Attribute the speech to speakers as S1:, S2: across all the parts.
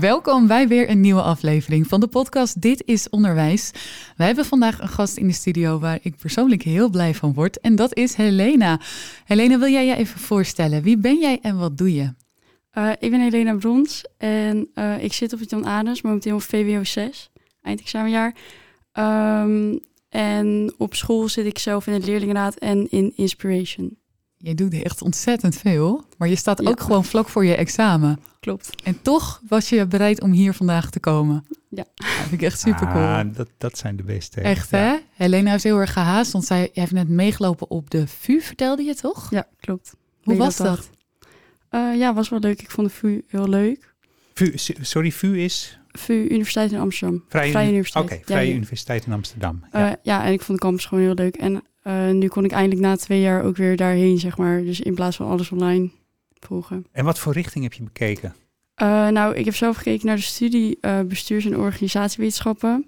S1: Welkom bij weer een nieuwe aflevering van de podcast Dit is Onderwijs. Wij hebben vandaag een gast in de studio waar ik persoonlijk heel blij van word. En dat is Helena. Helena, wil jij je even voorstellen? Wie ben jij en wat doe je?
S2: Eh, ik ben Helena Brons en eh, ik zit op het Jan Adens, momenteel op VWO 6, eindexamenjaar. Ehm, en op school zit ik zelf in het leerlingenraad en in Inspiration.
S1: Jij doet echt ontzettend veel, maar je staat
S2: Ja.
S1: ook gewoon vlak voor je examen.
S2: Klopt.
S1: En toch was je bereid om hier vandaag te komen.
S2: Ja.
S1: Dat vind ik echt super cool.
S3: Ah, dat, dat zijn de beste.
S1: Echt
S3: Ja.
S1: hè? Helena heeft heel erg gehaast, want zij heeft net meegelopen op de VU, vertelde je toch?
S2: Ja, klopt.
S1: Hoe
S2: Mede
S1: was
S2: dag.
S1: dat?
S2: Eh, ja, was wel leuk. Ik vond de VU heel leuk.
S3: VU, s- sorry, VU is
S2: VU Universiteit in Amsterdam.
S3: Vrije,
S2: Vrije
S3: Uni-
S2: Universiteit.
S3: Oké,
S2: Ja,
S3: Vrije
S2: hier.
S3: Universiteit in Amsterdam.
S2: Eh,
S3: ja.
S2: ja. en ik vond de campus gewoon heel leuk. En eh, nu kon ik eindelijk na twee jaar ook weer daarheen, zeg maar. Dus in plaats van alles online volgen.
S3: En wat voor richting heb je bekeken?
S2: Eh, nou, ik heb zelf gekeken naar de studie eh, bestuurs- en organisatiewetenschappen.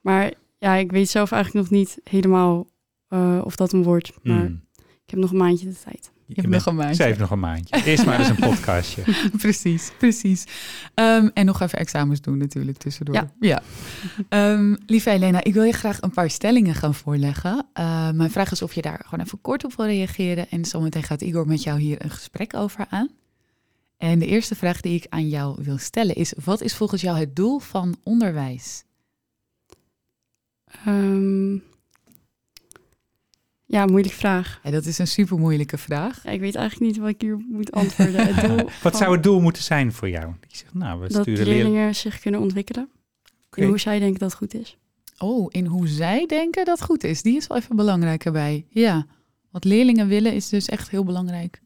S2: Maar ja, ik weet zelf eigenlijk nog niet helemaal eh, of dat een wordt. Maar
S3: Hmm.
S2: ik heb nog een maandje de tijd.
S1: Je hebt
S3: bent-
S1: nog een maandje.
S3: Zij heeft nog een maandje. Eerst maar eens een podcastje.
S1: precies, precies. Ehm, en nog even examens doen natuurlijk tussendoor.
S2: Ja.
S1: Ehm, lieve Helena, ik wil je graag een paar stellingen gaan voorleggen. Eh, mijn vraag is of je daar gewoon even kort op wil reageren. En zometeen gaat Igor met jou hier een gesprek over aan. En de eerste vraag die ik aan jou wil stellen is... wat is volgens jou het doel van onderwijs?
S2: Ehm, ja, moeilijke vraag.
S1: Ja, dat is een super moeilijke vraag.
S2: Ja, ik weet eigenlijk niet wat ik hier moet antwoorden. Het doel
S3: Wat
S2: van
S3: zou het doel moeten zijn voor jou? Ik zeg, nou, we
S2: Dat
S3: sturen
S2: leerlingen
S3: leerlingen.
S2: zich kunnen ontwikkelen.
S3: Oké.
S2: En hoe zij denken dat het goed is.
S1: Oh, in hoe zij denken dat goed is. Die is wel even belangrijk erbij. Ja, wat leerlingen willen is dus echt heel belangrijk.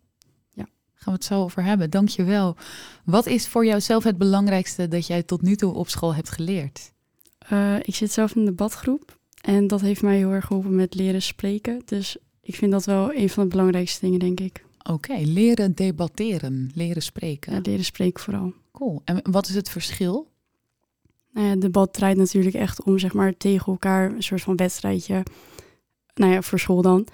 S2: Ja.
S1: Gaan we het zo over hebben. Dankjewel. Wat is voor jouzelf het belangrijkste dat jij tot nu toe op school hebt geleerd?
S2: Eh, ik zit zelf in een debatgroep. En dat heeft mij heel erg geholpen met leren spreken. Dus ik vind dat wel een van de belangrijkste dingen, denk ik.
S1: Oké, leren debatteren, leren spreken.
S2: Ja, leren spreken vooral.
S1: Cool. En wat is het verschil?
S2: Nou ja, het debat draait natuurlijk echt om, zeg maar, tegen elkaar, een soort van wedstrijdje. Nou ja, voor school dan.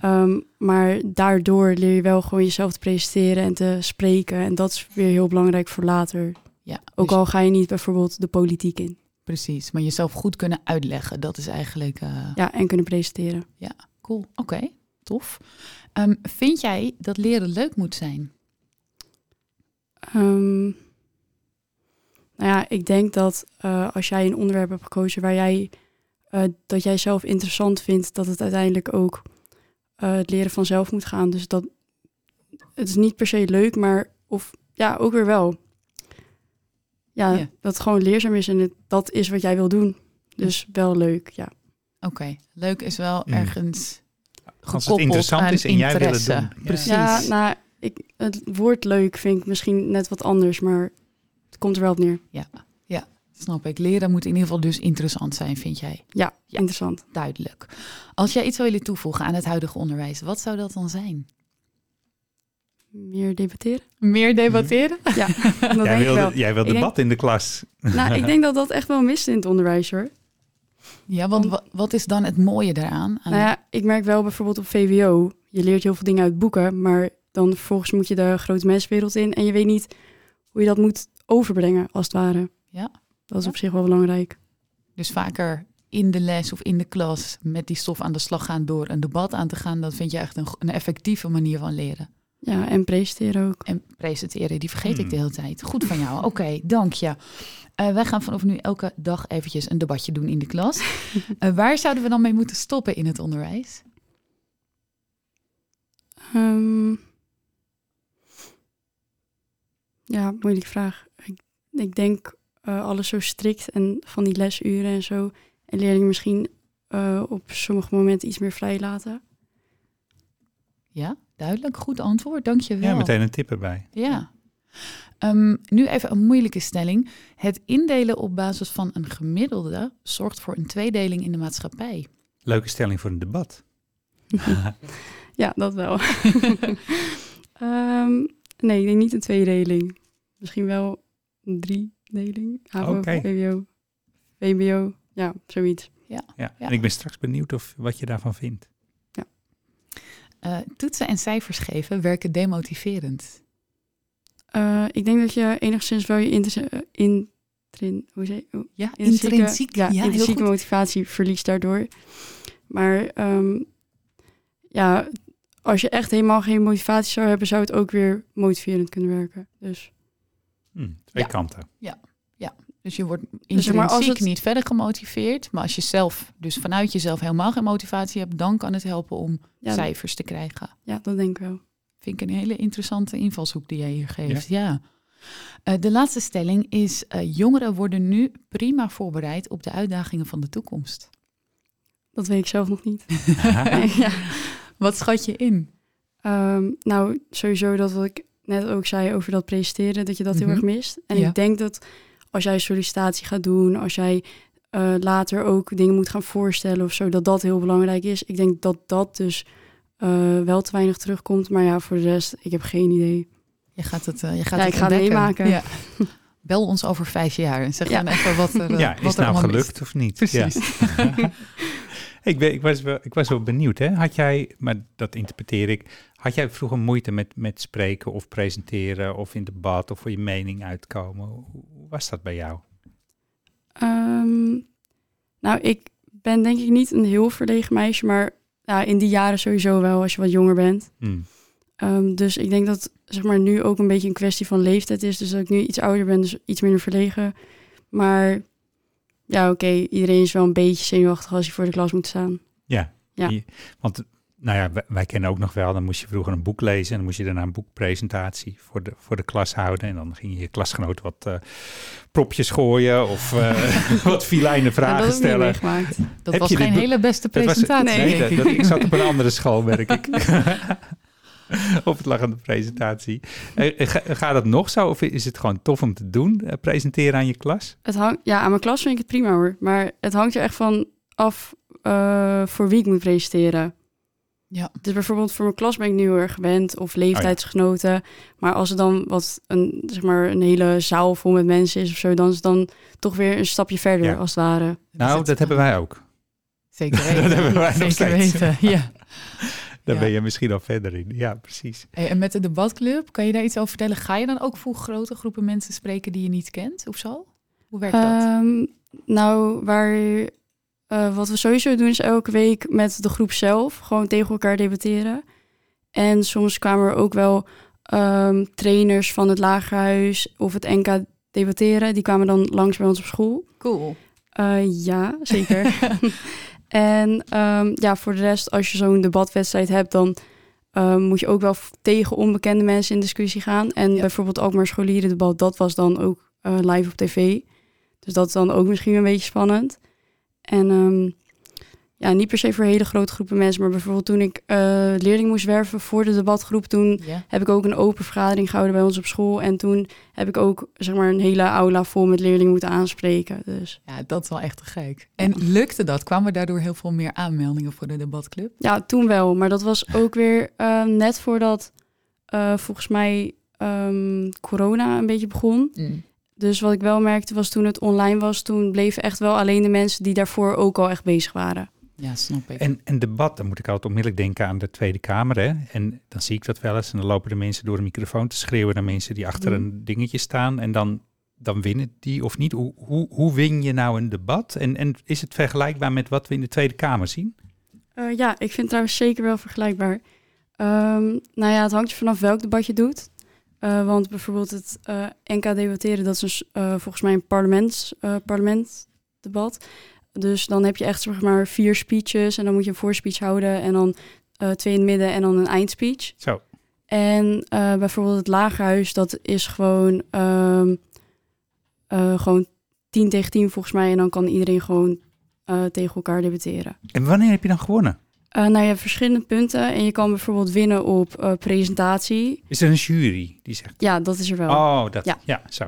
S2: Ehm, maar daardoor leer je wel gewoon jezelf te presenteren en te spreken. En dat is weer heel belangrijk voor later.
S1: Ja,
S2: Ook
S1: dus-
S2: al ga je niet bijvoorbeeld de politiek in.
S1: Precies, maar jezelf goed kunnen uitleggen, dat is eigenlijk eh,
S2: Ja, en kunnen presenteren.
S1: cool. Oké, tof. Ehm, vind jij dat leren leuk moet zijn?
S2: Ehm, nou ja, ik denk dat eh, als jij een onderwerp hebt gekozen waar jij, eh, dat jij zelf interessant vindt, dat het uiteindelijk ook eh, het leren vanzelf moet gaan. Dus dat het is niet per se leuk, maar of ja, ook weer wel. Ja,
S1: Ja.
S2: dat het gewoon leerzaam is en het, dat is wat jij wil doen. Dus wel leuk, ja.
S1: Oké, leuk is wel
S3: Mm.
S1: ergens
S3: Als
S1: gekoppeld
S3: het interessant
S1: aan
S3: is en jij wil het
S1: interesse.
S3: doen. Ja.
S1: Precies.
S2: Ja, nou, ik, het woord leuk vind ik misschien net wat anders, maar het komt er wel op neer.
S1: Snap ik. Leren moet in ieder geval dus interessant zijn, vind jij.
S2: Ja,
S1: Ja.
S2: interessant.
S1: Duidelijk. Als jij iets zou willen toevoegen aan het huidige onderwijs, wat zou dat dan zijn?
S2: Meer debatteren.
S1: Meer debatteren?
S2: Ja, dat
S3: Jij
S2: denk ik wel.
S3: wil, jij wil
S2: Ik
S3: debat in de klas.
S2: Nou, ik denk dat dat echt wel mist in het onderwijs
S1: Oh.
S2: hoor.
S1: Ja, want wa- wat is dan het mooie daaraan? Aan-
S2: Nou ja, ik merk wel bijvoorbeeld op VWO, je leert heel veel dingen uit boeken, maar dan vervolgens moet je de grote mensenwereld in en je weet niet hoe je dat moet overbrengen als het ware.
S1: Ja.
S2: Dat is
S1: Ja.
S2: op zich wel belangrijk.
S1: Dus vaker in de les of in de klas met die stof aan de slag gaan door een debat aan te gaan. Dat vind je echt een, go- een effectieve manier van leren.
S2: Ja, en presenteren ook.
S1: En presenteren, die vergeet ik de
S3: Hmm.
S1: hele tijd. Goed van jou. Oké, dank je. Eh, wij gaan vanaf nu elke dag eventjes een debatje doen in de klas. Eh, waar zouden we dan mee moeten stoppen in het onderwijs?
S2: Ehm, ja, moeilijke vraag. Ik, ik denk eh, alles zo strikt en van die lesuren en zo. En leerlingen misschien eh, op sommige momenten iets meer vrij laten.
S1: Ja, duidelijk. Goed antwoord. Dank je wel.
S3: Ja, meteen een tip erbij.
S1: Ja. Ehm, nu even een moeilijke stelling. Het indelen op basis van een gemiddelde zorgt voor een tweedeling in de maatschappij.
S3: Leuke stelling voor een debat.
S2: Ja, dat wel. Ehm, nee, ik denk niet een tweedeling. Misschien wel een driedeling. HAVO,
S3: Oké.
S2: VWO, VBO. Ja, zoiets.
S3: ja.
S1: Ja.
S3: En ik ben straks benieuwd of, wat je daarvan vindt.
S1: Eh, toetsen en cijfers geven werken demotiverend.
S2: Eh, ik denk dat je enigszins wel je interse- eh, intrin, hoe zeg je? oh,
S1: Ja,
S2: intrinsieke,
S1: intrinsiek.
S2: ja,
S1: Ja, heel
S2: intrinsieke
S1: goed.
S2: motivatie verliest daardoor. Maar ehm, ja, als je echt helemaal geen motivatie zou hebben, zou het ook weer motiverend kunnen werken. Dus
S3: Hm, twee
S1: Ja.
S3: kanten.
S1: Dus je wordt
S2: Dus zeg
S1: intrinsiek
S2: maar, als het-
S1: niet verder gemotiveerd. Maar als je zelf, dus vanuit jezelf helemaal geen motivatie hebt, dan kan het helpen om
S2: ja,
S1: cijfers te krijgen.
S2: ja, dat denk ik wel.
S1: Vind ik een hele interessante invalshoek die jij hier geeft. Ja. Eh, de laatste stelling is: eh, jongeren worden nu prima voorbereid op de uitdagingen van de toekomst.
S2: Dat weet ik zelf nog niet. Nee, ja.
S1: Wat schat je in?
S2: Ehm, nou, sowieso dat wat ik net ook zei over dat presenteren, dat je dat
S1: Mhm.
S2: heel erg mist. En
S1: Ja.
S2: ik denk dat als jij sollicitatie gaat doen, als jij eh, later ook dingen moet gaan voorstellen of zo, dat dat heel belangrijk is. Ik denk dat dat dus eh, wel te weinig terugkomt. Maar ja, voor de rest, ik heb geen idee.
S1: Je gaat het, eh, je gaat
S2: Ja,
S1: het
S2: ik ga het
S1: ontdekken.
S2: meemaken.
S1: Ja. Bel ons over vijf jaar en zeg
S2: Ja.
S1: dan even wat er, eh,
S3: Ja,
S1: wat
S3: is
S1: er
S3: nou
S1: allemaal
S3: gelukt
S1: mist.
S3: of niet? Ja.
S1: Precies.
S3: ik, ben, ik, was wel, ik was wel benieuwd, hè? Had jij, maar dat interpreteer ik, had jij vroeger moeite met, met spreken of presenteren of in debat of voor je mening uitkomen? Hoe hoe was dat bij jou?
S2: Ehm, nou, ik ben denk ik niet een heel verlegen meisje, maar ja, in die jaren sowieso wel, als je wat jonger bent.
S3: Hm.
S2: Ehm, dus ik denk dat zeg maar, nu ook een beetje een kwestie van leeftijd is. Dus dat ik nu iets ouder ben, dus iets minder verlegen. Maar ja, oké, iedereen is wel een beetje zenuwachtig als hij voor de klas moet staan.
S3: Ja.
S2: Ja.
S3: Je- want nou ja, wij, wij kennen ook nog wel, dan moest je vroeger een boek lezen en dan moest je daarna een boekpresentatie voor de, voor de klas houden. En dan ging je je klasgenoot wat eh, propjes gooien of eh, wat filijne
S2: Maar
S3: vragen
S2: dat heb ik niet
S3: stellen.
S2: meegemaakt.
S1: Dat
S3: Heb
S1: was
S3: je dit
S1: geen
S3: be-
S1: hele beste
S3: Dat was-
S1: presentatie.
S2: nee,
S1: denk
S3: dat,
S1: ik.
S3: dat- ik zat op een andere school, merk ik. of het lag aan de presentatie. Eh, eh, ga- Gaat dat nog zo of is het gewoon tof om te doen, eh, presenteren aan je klas?
S2: Het hangt, ja, aan mijn klas vind ik het prima hoor. Maar het hangt er echt van af eh, voor wie ik moet presenteren.
S1: Ja.
S2: Dus bijvoorbeeld voor mijn klas ben ik nu heel erg gewend of leeftijdsgenoten.
S3: Oh,
S2: Maar als er dan wat een, zeg maar, een hele zaal vol met mensen is of zo, dan is het dan toch weer een stapje verder
S3: Ja.
S2: als het ware.
S3: Nou, dat hebben wij ook.
S1: Zeker weten.
S3: Dat hebben wij nog
S1: Zeker
S3: steeds.
S1: weten, ja.
S3: Daar
S1: Ja.
S3: ben je misschien al verder in. Ja, precies.
S1: Hey, en met de debatclub, kan je daar iets over vertellen? Ga je dan ook voor grote groepen mensen spreken die je niet kent of zo? Hoe werkt dat?
S2: Ehm, nou, waar, eh, wat we sowieso doen is elke week met de groep zelf gewoon tegen elkaar debatteren. En soms kwamen er ook wel ehm, trainers van het Lagerhuis of het NK debatteren. Die kwamen dan langs bij ons op school.
S1: Cool.
S2: Eh, ja, zeker. en ehm, ja, voor de rest, als je zo'n debatwedstrijd hebt, dan ehm, moet je ook wel f- tegen onbekende mensen in discussie gaan. En
S1: Ja.
S2: bijvoorbeeld Alkmaar Scholierendebat, dat was dan ook eh, live op tv. Dus dat is dan ook misschien een beetje spannend. En ehm, ja, niet per se voor hele grote groepen mensen, maar bijvoorbeeld toen ik eh leerling moest werven voor de debatgroep, toen
S1: Ja.
S2: heb ik ook een open vergadering gehouden bij ons op school. En toen heb ik ook zeg maar, een hele aula vol met leerlingen moeten aanspreken. Dus
S1: ja, dat is wel echt te gek. En lukte dat? Kwamen daardoor heel veel meer aanmeldingen voor de debatclub?
S2: Ja, toen wel. Maar dat was ook weer eh, net voordat eh, volgens mij ehm, corona een beetje begon.
S1: Mm.
S2: Dus wat ik wel merkte was toen het online was, toen bleven echt wel alleen de mensen die daarvoor ook al echt bezig waren.
S1: Ja, snap ik.
S3: En, en debat, dan moet ik altijd onmiddellijk denken aan de Tweede Kamer. Hè? En dan zie ik dat wel eens. En dan lopen de mensen door een microfoon te schreeuwen naar mensen die achter
S2: Mm.
S3: een dingetje staan. En dan, dan winnen die of niet. Hoe, hoe, hoe win je nou een debat? En, en is het vergelijkbaar met wat we in de Tweede Kamer zien?
S2: Eh, ja, ik vind het trouwens zeker wel vergelijkbaar. Ehm, nou ja, het hangt er vanaf welk debat je doet. Eh, want bijvoorbeeld het eh, NK debatteren, dat is een s- eh, volgens mij een parlements, eh, parlementdebat. Dus dan heb je echt zeg maar vier speeches en dan moet je een voorspeech houden en dan eh, twee in het midden en dan een eindspeech.
S3: Zo.
S2: En eh, bijvoorbeeld het lagerhuis, dat is gewoon, ehm eh, gewoon tien tegen tien volgens mij en dan kan iedereen gewoon eh, tegen elkaar debatteren.
S3: En wanneer heb je dan gewonnen?
S2: Eh, nou, je hebt verschillende punten en je kan bijvoorbeeld winnen op eh, presentatie.
S3: Is er een jury die zegt.
S2: Ja, dat is er wel.
S3: Oh, dat. Ja,
S2: Ja.
S3: zo.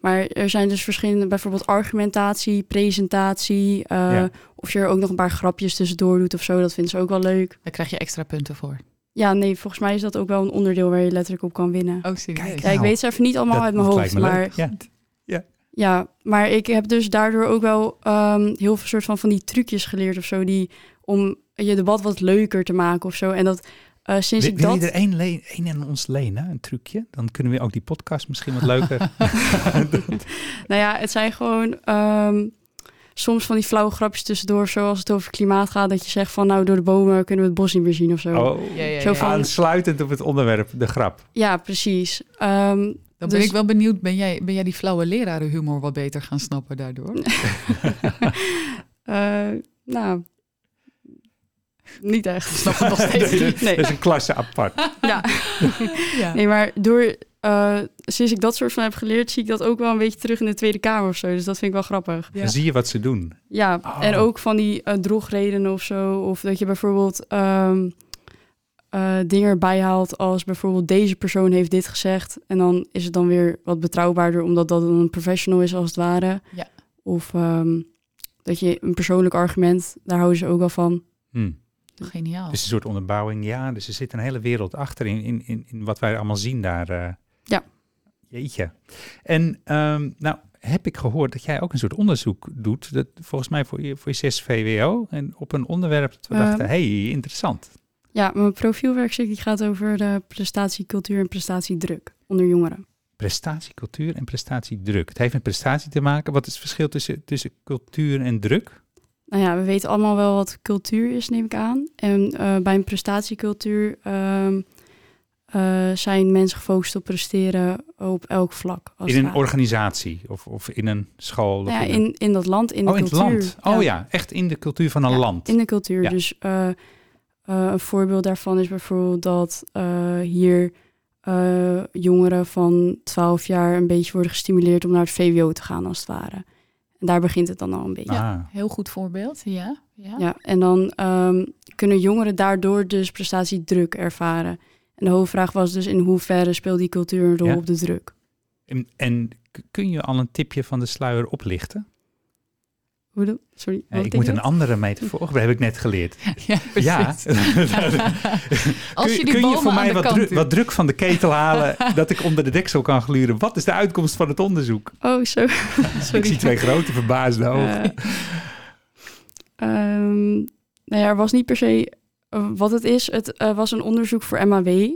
S2: Maar er zijn dus verschillende, bijvoorbeeld argumentatie, presentatie. eh,
S3: Ja.
S2: Of je er ook nog een paar grapjes tussendoor doet of zo. Dat vinden ze ook wel leuk.
S1: Daar krijg je extra punten voor.
S2: Ja, nee, volgens mij is dat ook wel een onderdeel waar je letterlijk op kan winnen.
S1: Oh, serieus?
S2: Ja, ik weet ze even niet allemaal uit mijn
S3: Nou, dat
S2: hoofd.
S3: lijkt me leuk.
S2: Maar
S3: Ja.
S2: Ja, maar ik heb dus daardoor ook wel ehm, heel veel soort van van die trucjes geleerd of zo. Die, om je debat wat leuker te maken of zo. En dat eh, sinds
S3: Wil,
S2: ik
S3: wil
S2: dat...
S3: je er één, leen, één aan ons lenen, een trucje? Dan kunnen we ook die podcast misschien wat leuker...
S2: Nou ja, het zijn gewoon ehm, soms van die flauwe grapjes tussendoor. Zoals het over klimaat gaat. Dat je zegt van nou door de bomen kunnen we het bos niet meer zien of zo.
S3: Oh,
S1: Ja, ja,
S2: Zo
S1: ja.
S2: van-
S3: aansluitend op het onderwerp, de grap.
S2: Ja, precies. Ehm,
S1: Dan ben
S2: dus-
S1: ik wel benieuwd, ben jij, ben jij die flauwe lerarenhumor wat beter gaan snappen daardoor?
S2: eh, nou, niet echt.
S1: Snap het nog steeds
S2: Nee,
S1: niet.
S2: nee.
S3: Dat is een klasse apart.
S2: Ja.
S1: Ja.
S2: Nee, maar door, eh, sinds ik dat soort van heb geleerd, zie ik dat ook wel een beetje terug in de Tweede Kamer of zo. Dus dat vind ik wel grappig.
S1: Ja.
S3: Dan zie je wat ze doen.
S2: Ja,
S3: Oh.
S2: en ook van die eh, drogredenen of zo. Of dat je bijvoorbeeld ehm, eh, dingen erbij haalt als bijvoorbeeld deze persoon heeft dit gezegd. En dan is het dan weer wat betrouwbaarder, omdat dat dan een professional is als het ware.
S1: Ja.
S2: Of ehm, dat je een persoonlijk argument, daar houden ze ook wel van.
S3: Hm.
S1: Geniaal.
S2: Oh.
S3: Dus een soort onderbouwing, ja. Dus er zit een hele wereld achter in, in, in, in wat wij allemaal zien daar. eh.
S2: Ja.
S3: Jeetje. En ehm, nou heb ik gehoord dat jij ook een soort onderzoek doet. Dat, volgens mij voor je, voor je 6 VWO. En op een onderwerp dat we
S2: Ehm.
S3: dachten, hey, interessant.
S2: Ja, mijn profielwerkstuk die gaat over de prestatiecultuur en prestatiedruk onder jongeren.
S3: Prestatiecultuur en prestatiedruk. Het heeft met prestatie te maken. Wat is het verschil tussen, tussen cultuur en druk?
S2: Nou ja, we weten allemaal wel wat cultuur is, neem ik aan. En eh, bij een prestatiecultuur ehm, eh, zijn mensen gefocust op presteren op elk vlak. Als
S3: in een
S2: het ware.
S3: organisatie of, of in een school? of
S2: Nou
S3: een-
S2: ja, in, in dat land, in de
S3: oh, in het
S2: cultuur.
S3: land. Oh ja. echt in de cultuur van een
S2: Ja,
S3: land.
S2: In de cultuur.
S3: Ja.
S2: Dus eh, eh, een voorbeeld daarvan is bijvoorbeeld dat eh, hier eh, jongeren van 12 jaar een beetje worden gestimuleerd om naar het VWO te gaan, als het ware. En daar begint het dan al een beetje.
S3: Ah.
S1: Heel goed voorbeeld, ja. ja.
S2: Ja, en dan ehm, kunnen jongeren daardoor dus prestatiedruk ervaren. En de hoofdvraag was dus in hoeverre speelt die cultuur een rol
S3: Ja.
S2: op de druk?
S3: En, en k- kun je al een tipje van de sluier oplichten?
S2: Hoe dan? Sorry,
S3: Eh,
S2: wat
S3: ik moet
S2: betekent
S3: een
S2: dat?
S3: andere metafoor. Dat heb ik net geleerd.
S1: Ja,
S3: Ja.
S1: precies. Als je die
S3: kun je
S1: bomen
S3: voor
S1: aan
S3: mij
S1: de
S3: wat,
S1: kant
S3: dru-
S1: doet.
S3: wat druk van de ketel halen, dat ik onder de deksel kan gluren? Wat is de uitkomst van het onderzoek?
S2: Oh, zo. Sorry.
S3: Ik zie twee grote verbaasde ogen.
S2: Eh, ehm, nou ja, er was niet per se eh, wat het is. Het eh, was een onderzoek voor MAW.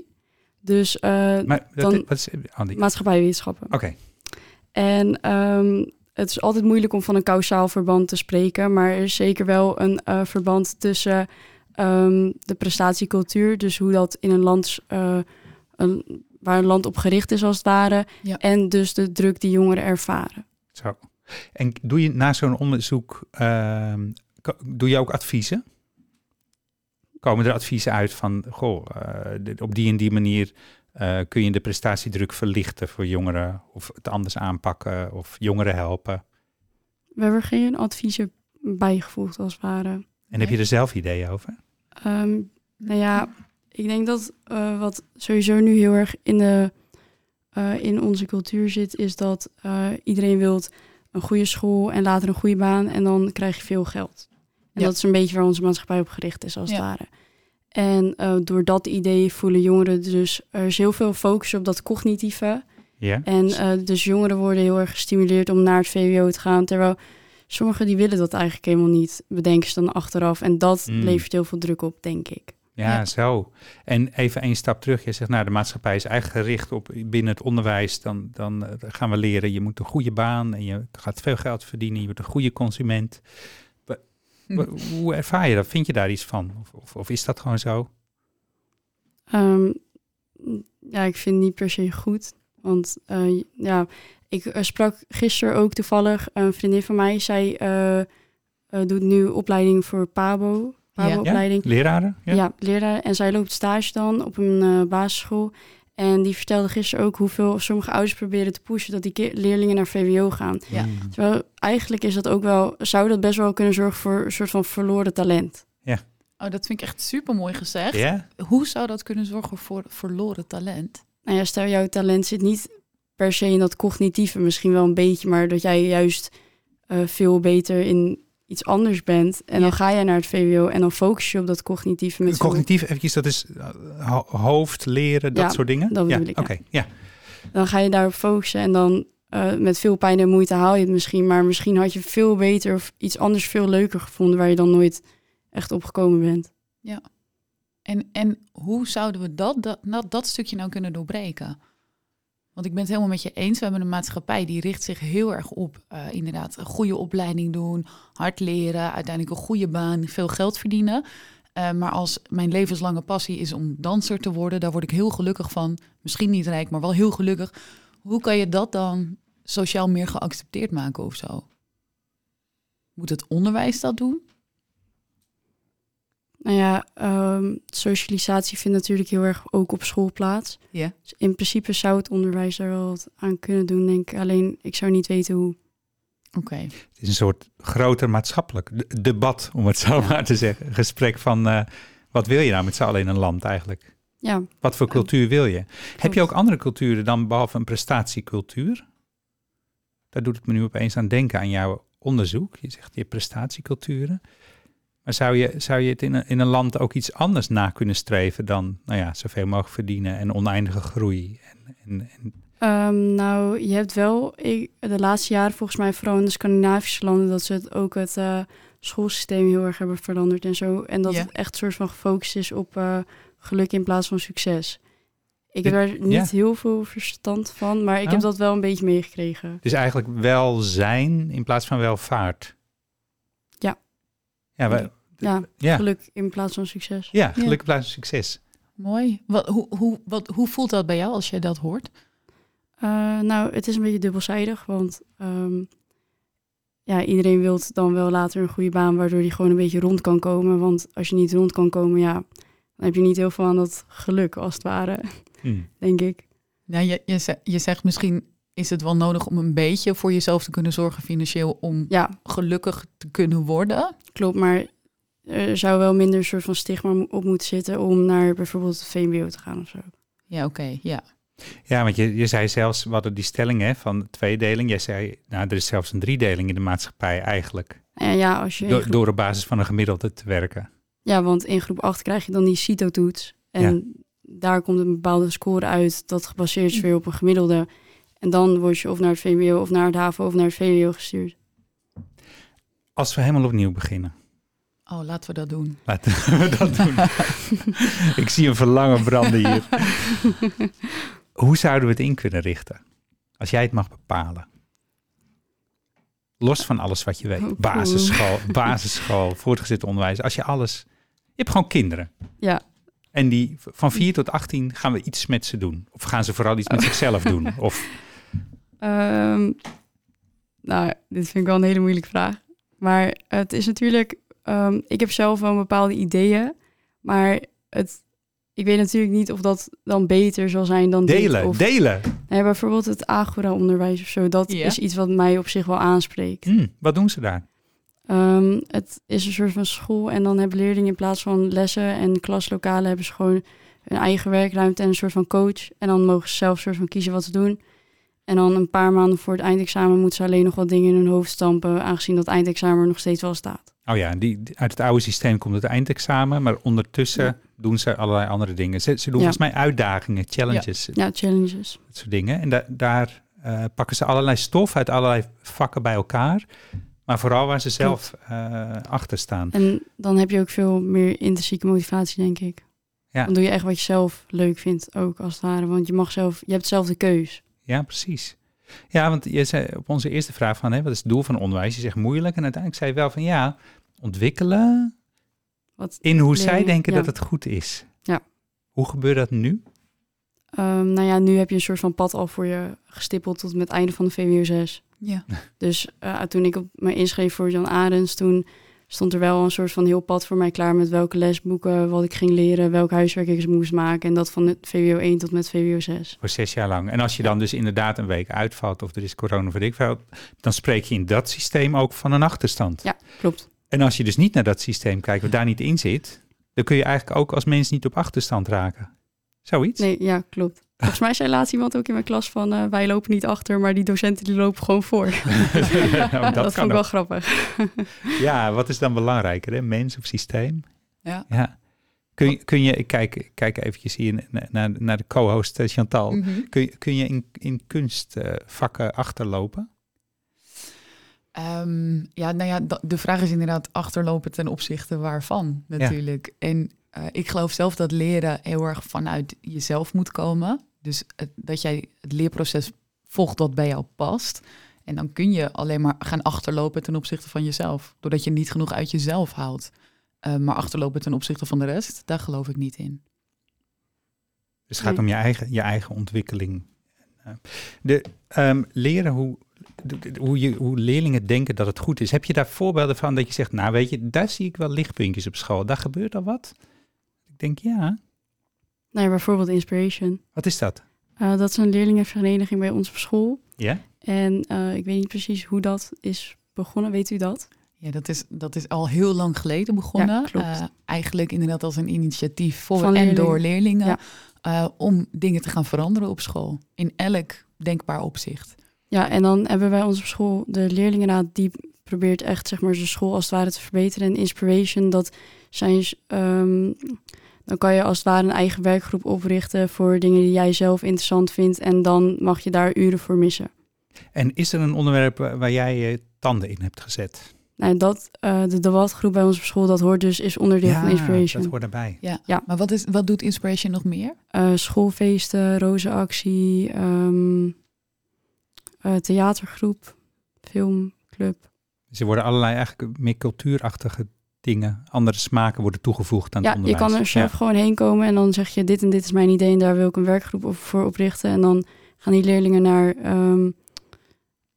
S2: Dus eh
S3: maar dat,
S2: dan-
S3: wat is, Andy.
S2: maatschappijwetenschappen.
S3: Oké,
S2: En ehm, het is altijd moeilijk om van een kausaal verband te spreken, maar er is zeker wel een eh, verband tussen ehm, de prestatiecultuur, dus hoe dat in een land, eh, een, waar een land op gericht is als het ware,
S1: Ja.
S2: en dus de druk die jongeren ervaren.
S3: zo. En doe je na zo'n onderzoek, ehm, ko- doe je ook adviezen? Komen er adviezen uit van, goh, eh, dit- op die en die manier eh, kun je de prestatiedruk verlichten voor jongeren? Of het anders aanpakken of jongeren helpen?
S2: We hebben er geen adviezen bijgevoegd als het ware.
S3: En heb je er zelf ideeën over?
S2: Ehm, nou ja, ik denk dat eh, wat sowieso nu heel erg in, de, eh, in onze cultuur zit, is dat eh, iedereen wil een goede school en later een goede baan en dan krijg je veel geld. En
S1: Ja.
S2: dat is een beetje waar onze maatschappij op gericht is, als het
S1: Ja.
S2: ware. En eh, door dat idee voelen jongeren dus, er is heel veel focus op dat cognitieve.
S3: Ja?
S2: En eh, dus jongeren worden heel erg gestimuleerd om naar het VWO te gaan. Terwijl sommigen die willen dat eigenlijk helemaal niet, bedenken ze dan achteraf. En dat
S3: Mm.
S2: levert heel veel druk op, denk ik.
S3: Ja,
S1: Ja.
S3: zo. En even één stap terug. Je zegt, nou, de maatschappij is eigenlijk gericht op binnen het onderwijs. Dan, dan eh, gaan we leren, je moet een goede baan en je gaat veel geld verdienen. Je wordt een goede consument. Wa-
S2: Hm.
S3: wa- Hoe ervaar je dat? Vind je daar iets van? Of, of, of is dat gewoon zo?
S2: Ehm, ja, ik vind het niet per se goed. Want eh, ja, ik eh, sprak gisteren ook toevallig een vriendin van mij. Zij eh, eh, doet nu opleiding voor PABO. PABO-opleiding.
S3: Leraren?
S2: Ja, leraar. En zij loopt stage dan op een eh, basisschool. En die vertelde gisteren ook hoeveel sommige ouders proberen te pushen dat die ki- leerlingen naar VWO gaan.
S1: Ja.
S3: Mm.
S2: Terwijl eigenlijk is dat ook wel, zou dat best wel kunnen zorgen voor een soort van verloren talent.
S1: Oh, dat vind ik echt super mooi gezegd.
S3: Ja?
S1: Hoe zou dat kunnen zorgen voor verloren talent?
S2: Nou ja, stel jouw talent zit niet per se in dat cognitieve misschien wel een beetje, maar dat jij juist eh, veel beter in iets anders bent. En dan
S1: Ja.
S2: ga jij naar het VWO en dan focus je op dat cognitieve met z'n-
S3: Cognitief, eventjes, dat is eh, ho- hoofd, leren, dat
S2: Ja,
S3: soort dingen?
S2: dat
S3: ja,
S2: bedoel ik,
S3: Oké,
S2: ja.
S3: ja.
S2: Dan ga je daarop focussen en dan eh, met veel pijn en moeite haal je het misschien. Maar misschien had je veel beter of iets anders veel leuker gevonden waar je dan nooit echt op gekomen bent.
S1: En, en hoe zouden we dat, dat, dat, dat stukje nou kunnen doorbreken? Want ik ben het helemaal met je eens. We hebben een maatschappij die richt zich heel erg op eh, inderdaad een goede opleiding doen, hard leren, uiteindelijk een goede baan, veel geld verdienen. Eh, maar als mijn levenslange passie is om danser te worden, daar word ik heel gelukkig van. Misschien niet rijk, maar wel heel gelukkig. Hoe kan je dat dan sociaal meer geaccepteerd maken of zo? Moet het onderwijs dat doen?
S2: Nou ja, ehm, socialisatie vindt natuurlijk heel erg ook op school plaats.
S1: Ja.
S2: Dus in principe zou het onderwijs daar wel wat aan kunnen doen, denk ik. Alleen ik zou niet weten hoe.
S1: Oké.
S3: Het is een soort groter maatschappelijk d- debat, om het zo maar te zeggen. Gesprek van, eh, wat wil je nou met z'n allen in een land eigenlijk?
S2: Ja,
S3: Wat voor cultuur wil je? Heb je ook andere culturen dan behalve een prestatiecultuur? Daar doet het me nu opeens aan denken aan jouw onderzoek. Je zegt je hebt prestatieculturen. Maar zou je, zou je het in een, in een land ook iets anders na kunnen streven dan, nou ja, zoveel mogelijk verdienen en oneindige groei? En, en, en,
S2: Ehm, nou, je hebt wel ik, de laatste jaren volgens mij vooral in de Scandinavische landen dat ze het ook het eh, schoolsysteem heel erg hebben veranderd en zo. En dat
S1: Ja.
S2: het echt soort van gefocust is op eh, geluk in plaats van succes. Ik
S3: Dit-
S2: heb daar niet
S3: ja.
S2: heel veel verstand van, maar ik
S3: Oh.
S2: heb dat wel een beetje meegekregen.
S3: dus eigenlijk welzijn in plaats van welvaart.
S2: Ja.
S3: Ja, we-
S2: Ja,
S3: ja.
S2: geluk in plaats van succes.
S3: ja gelukkig plaats van succes.
S1: Mooi. Wat, hoe, hoe, wat, hoe voelt dat bij jou als je dat hoort?
S2: Eh, nou, het is een beetje dubbelzijdig, want ehm, ja, iedereen wil dan wel later een goede baan, waardoor die gewoon een beetje rond kan komen. Want als je niet rond kan komen, ja, dan heb je niet heel veel aan dat geluk, als het ware,
S3: Hm.
S2: denk ik.
S1: Nou, je, je, ze- je zegt misschien is het wel nodig om een beetje voor jezelf te kunnen zorgen financieel om
S2: Ja,
S1: gelukkig te kunnen worden.
S2: klopt, maar er zou wel minder een soort van stigma mo- op moeten zitten om naar bijvoorbeeld het VMBO te gaan of zo.
S1: Ja, oké. ja.
S3: Ja, want je, je zei zelfs, we hadden die stelling hè, van tweedeling. Jij zei, nou, er is zelfs een driedeling in de maatschappij eigenlijk.
S2: En ja, als je in
S3: Do-
S2: groep-
S3: door op basis van een gemiddelde te werken.
S2: ja, want in groep 8 krijg je dan die CITO-toets. En daar komt een bepaalde score uit dat gebaseerd is weer op een gemiddelde. En dan word je of naar het VMBO of naar het HAVO of naar het VWO gestuurd.
S3: Als we helemaal opnieuw beginnen.
S1: Oh, laten we dat doen.
S3: Laten we dat doen. Ik zie een verlangen branden hier. Hoe zouden we het in kunnen richten? Als jij het mag bepalen. Los van alles wat je
S2: Oh,
S3: weet.
S2: poeh.
S3: Basisschool, basisschool voortgezet onderwijs. Als je alles... Je hebt gewoon kinderen.
S2: Ja.
S3: En die v- van 4 tot 18 gaan we iets met ze doen. Of gaan ze vooral iets met zichzelf doen. Of
S2: Ehm, nou, dit vind ik wel een hele moeilijke vraag. Maar het is natuurlijk, ehm, ik heb zelf wel bepaalde ideeën, maar het, ik weet natuurlijk niet of dat dan beter zal zijn dan dit,
S3: delen,
S2: Of,
S3: delen.
S2: Nee, bijvoorbeeld het Agora-onderwijs of zo. Dat
S1: Ja.
S2: is iets wat mij op zich wel aanspreekt.
S3: Hm, wat doen ze daar?
S2: Ehm, het is een soort van school en dan hebben leerlingen in plaats van lessen en klaslokalen hebben ze gewoon hun eigen werkruimte en een soort van coach. En dan mogen ze zelf soort van kiezen wat ze doen. En dan een paar maanden voor het eindexamen moeten ze alleen nog wat dingen in hun hoofd stampen, aangezien dat eindexamen er nog steeds wel staat.
S3: Oh ja, die, die- uit het oude systeem komt het eindexamen, maar ondertussen
S2: Ja.
S3: doen ze allerlei andere dingen. Ze, ze doen
S2: Ja.
S3: volgens mij uitdagingen, challenges,
S2: Ja, challenges.
S3: dat soort dingen. En da- daar eh, pakken ze allerlei stof uit allerlei vakken bij elkaar, maar vooral waar ze zelf eh, achter staan.
S2: En dan heb je ook veel meer intrinsieke motivatie, denk ik.
S3: Ja.
S2: Dan doe je echt wat je zelf leuk vindt, ook als het ware. Want je mag zelf, je hebt zelf de keus.
S3: Ja, precies. Ja, want je zei op onze eerste vraag van, hè, wat is het doel van onderwijs? Je zegt moeilijk en uiteindelijk zei je wel van, ja, ontwikkelen
S2: Wat
S3: in hoe zij
S2: Leren,
S3: denken
S2: ja.
S3: dat het goed is.
S2: Ja.
S3: Hoe gebeurt dat nu?
S2: Ehm, nou ja, nu heb je een soort van pad al voor je gestippeld tot met het einde van de VWO 6.
S1: Ja.
S2: Dus eh, toen ik op me inschreef voor Jan Arends, toen stond er wel een soort van heel pad voor mij klaar met welke lesboeken, wat ik ging leren, welk huiswerk ik moest maken. En dat van het VWO 1 tot met VWO 6.
S3: Voor zes jaar lang. En als je dan dus inderdaad een week uitvalt of er is corona voor ik veel, dan spreek je in dat systeem ook van een achterstand.
S2: Ja, klopt.
S3: En als je dus niet naar dat systeem kijkt, wat daar niet in zit, dan kun je eigenlijk ook als mens niet op achterstand raken. Zoiets?
S2: Nee, ja, klopt. Volgens mij zei laatst iemand ook in mijn klas van eh, wij lopen niet achter, maar die docenten die lopen gewoon voor.
S3: Nou, dat
S2: dat vond
S3: kan
S2: ik wel
S3: ook.
S2: grappig.
S3: Ja, wat is dan belangrijker, hè? mens of systeem?
S1: Ja.
S3: ja. Kun, je- kun je, ik kijk, ik kijk eventjes hier na- na- naar, naar de co-host eh, Chantal.
S2: Mm.
S1: Mhm.
S3: Kun, je- kun je in, in kunstvakken achterlopen?
S1: Ehm, ja, nou ja, da- de vraag is inderdaad achterlopen ten opzichte waarvan natuurlijk. En eh, ik geloof zelf dat leren heel erg vanuit jezelf moet komen. Dus het- dat jij het leerproces volgt dat bij jou past. En dan kun je alleen maar gaan achterlopen ten opzichte van jezelf. Doordat je niet genoeg uit jezelf haalt. Eh, maar achterlopen ten opzichte van de rest, daar geloof ik niet in.
S3: Dus het gaat
S2: Nee.
S3: om je eigen, je eigen ontwikkeling. Eh, De, ehm, leren hoe, de- de- hoe, je, hoe leerlingen denken dat het goed is. Heb je daar voorbeelden van dat je zegt, nou weet je, daar zie ik wel lichtpuntjes op school. Daar gebeurt al wat. Ik denk, ja,
S2: Nee, Nou bijvoorbeeld Inspiration.
S3: wat is dat?
S2: Eh, dat is een leerlingenvereniging bij ons op school.
S3: Ja?
S2: En eh, ik weet niet precies hoe dat is begonnen, weet u dat?
S1: Ja, dat is, dat is al heel lang geleden begonnen.
S2: Ja, klopt.
S1: Eh, eigenlijk inderdaad als een initiatief voor
S2: Van
S1: en
S2: leerlingen.
S1: door leerlingen.
S2: Ja.
S1: eh, om dingen te gaan veranderen op school. In elk denkbaar opzicht.
S2: Ja, en dan hebben wij ons op school de leerlingenraad die probeert echt zeg maar zijn school als het ware te verbeteren. En Inspiration, dat zijn ehm, dan kan je als het ware een eigen werkgroep oprichten voor dingen die jij zelf interessant vindt. En dan mag je daar uren voor missen.
S3: En is er een onderwerp wa- waar jij je tanden in hebt gezet?
S2: Nou, dat, eh, de debatgroep bij ons op school, dat hoort dus, is onderdeel van Inspiration.
S3: dat hoort erbij.
S1: Maar wat, is, wat doet Inspiration nog meer?
S2: Eh, schoolfeesten, rozenactie, ehm, eh, theatergroep, filmclub.
S3: Dus er worden allerlei eigenlijk meer cultuurachtige dingen, andere smaken worden toegevoegd aan
S2: Ja,
S3: het
S2: je
S3: onderwijs.
S2: kan er zelf gewoon heen komen en dan zeg je dit en dit is mijn idee en daar wil ik een werkgroep op- voor oprichten. En dan gaan die leerlingen naar ehm,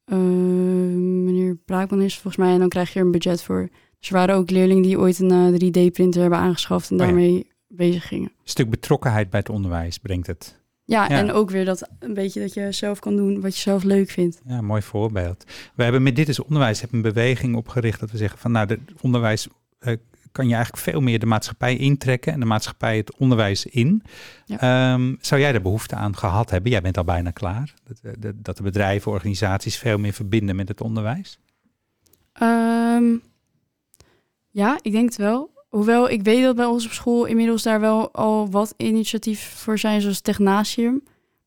S2: eh, meneer Braakman is het volgens mij en dan krijg je er een budget voor. Dus er waren ook leerlingen die ooit een eh, 3D-printer hebben aangeschaft en
S3: Oh ja.
S2: daarmee bezig gingen.
S3: Een stuk betrokkenheid bij het onderwijs brengt het.
S2: Ja,
S3: Ja.
S2: en ook weer dat een beetje dat je zelf kan doen wat je zelf leuk vindt.
S3: Ja, mooi voorbeeld. We hebben met Dit is Onderwijs hebben een beweging opgericht dat we zeggen van nou, het onderwijs eh, kan je eigenlijk veel meer de maatschappij intrekken en de maatschappij het onderwijs in.
S2: Ja.
S3: Ehm, zou jij daar behoefte aan gehad hebben? Jij bent al bijna klaar. Dat, eh, dat- dat de bedrijven, organisaties veel meer verbinden met het onderwijs.
S2: Ehm, ja, ik denk het wel. Hoewel ik weet dat bij ons op school inmiddels daar wel al wat initiatief voor zijn, zoals Technasium.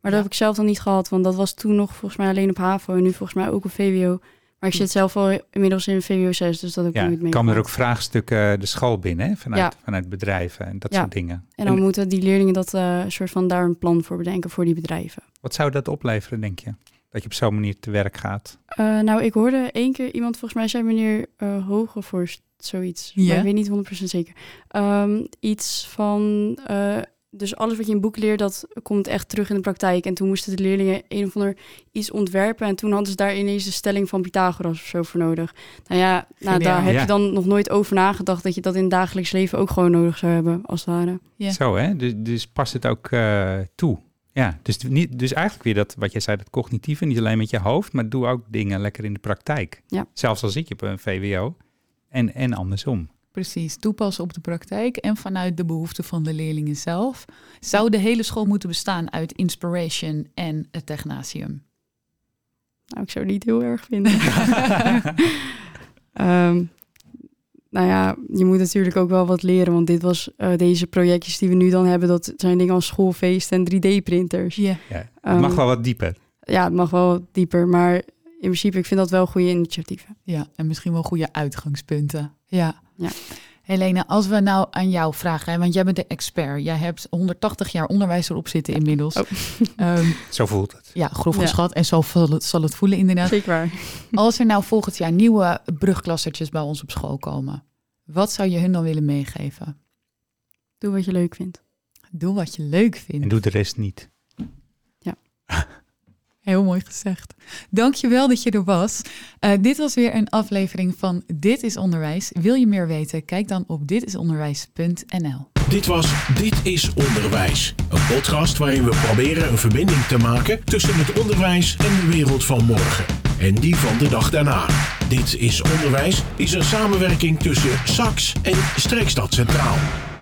S2: Maar dat
S1: Ja.
S2: heb ik zelf dan niet gehad, want dat was toen nog volgens mij alleen op HAVO en nu volgens mij ook op VWO. Maar ik zit zelf al inmiddels in VWO 6, dus dat heb ik
S3: Ja,
S2: nooit mee.
S3: kan er ook vraagstukken eh, de school binnen hè, vanuit,
S2: Ja.
S3: vanuit bedrijven en dat
S2: Ja.
S3: soort dingen.
S2: En dan
S3: En
S2: moeten die leerlingen dat eh, soort van daar een plan voor bedenken voor die bedrijven.
S3: wat zou dat opleveren, denk je? Dat je op zo'n manier te werk gaat.
S2: Eh, nou, ik hoorde één keer iemand, volgens mij zei meneer eh Hogevorst zoiets.
S1: Ja.
S2: Maar ik weet niet 100% zeker. Ehm, iets van, eh, dus alles wat je in boek leert, dat komt echt terug in de praktijk. En toen moesten de leerlingen een of ander iets ontwerpen. En toen hadden ze daar ineens de stelling van Pythagoras of zo voor nodig. Nou ja, nou,
S1: Geniaal.
S2: daar heb
S3: Ja.
S2: je dan nog nooit over nagedacht dat je dat in het dagelijks leven ook gewoon nodig zou hebben, als het ware.
S1: Ja.
S3: Zo, hè? Dus, dus past het ook eh, toe. Ja, dus, niet, dus eigenlijk weer dat wat jij zei, dat cognitieve, niet alleen met je hoofd, maar doe ook dingen lekker in de praktijk.
S2: Ja.
S3: Zelfs al zit je op een VWO en, en andersom.
S1: Precies, toepassen op de praktijk en vanuit de behoeften van de leerlingen zelf. Zou de hele school moeten bestaan uit Inspiration en het Technasium?
S2: Nou, ik zou het niet heel erg vinden. Ehm, nou ja, je moet natuurlijk ook wel wat leren. Want dit was, eh, deze projectjes die we nu dan hebben, dat zijn dingen als schoolfeest en 3D-printers.
S1: Ja.
S3: Ja, het
S2: Ehm,
S3: mag wel wat dieper.
S2: Ja, het mag wel wat dieper. Maar in principe, ik vind dat wel goede initiatieven.
S1: Ja, en misschien wel goede uitgangspunten. Ja.
S2: Ja.
S1: Helena, als we nou aan jou vragen, hè, want jij bent de expert. Jij hebt 180 jaar onderwijs erop zitten inmiddels.
S2: Oh.
S1: Ehm,
S3: Zo voelt het.
S1: ja, grof
S2: Ja.
S1: geschat. En zo zal het, zal het voelen inderdaad.
S2: Zeker waar.
S1: Als er nou volgend jaar nieuwe brugklassertjes bij ons op school komen, wat zou je hun dan willen meegeven?
S2: Doe wat je leuk vindt.
S1: Doe wat je leuk
S3: En
S1: vindt.
S3: doe de rest niet.
S1: Heel mooi gezegd. Dankjewel dat je er was. Eh, dit was weer een aflevering van Dit is Onderwijs. Wil je meer weten? Kijk dan op ditisonderwijs.nl.
S4: Dit was Dit is Onderwijs. Een podcast waarin we proberen een verbinding te maken tussen het onderwijs en de wereld van morgen. En die van de dag daarna. Dit is Onderwijs is een samenwerking tussen SAX en Streekstad Centraal.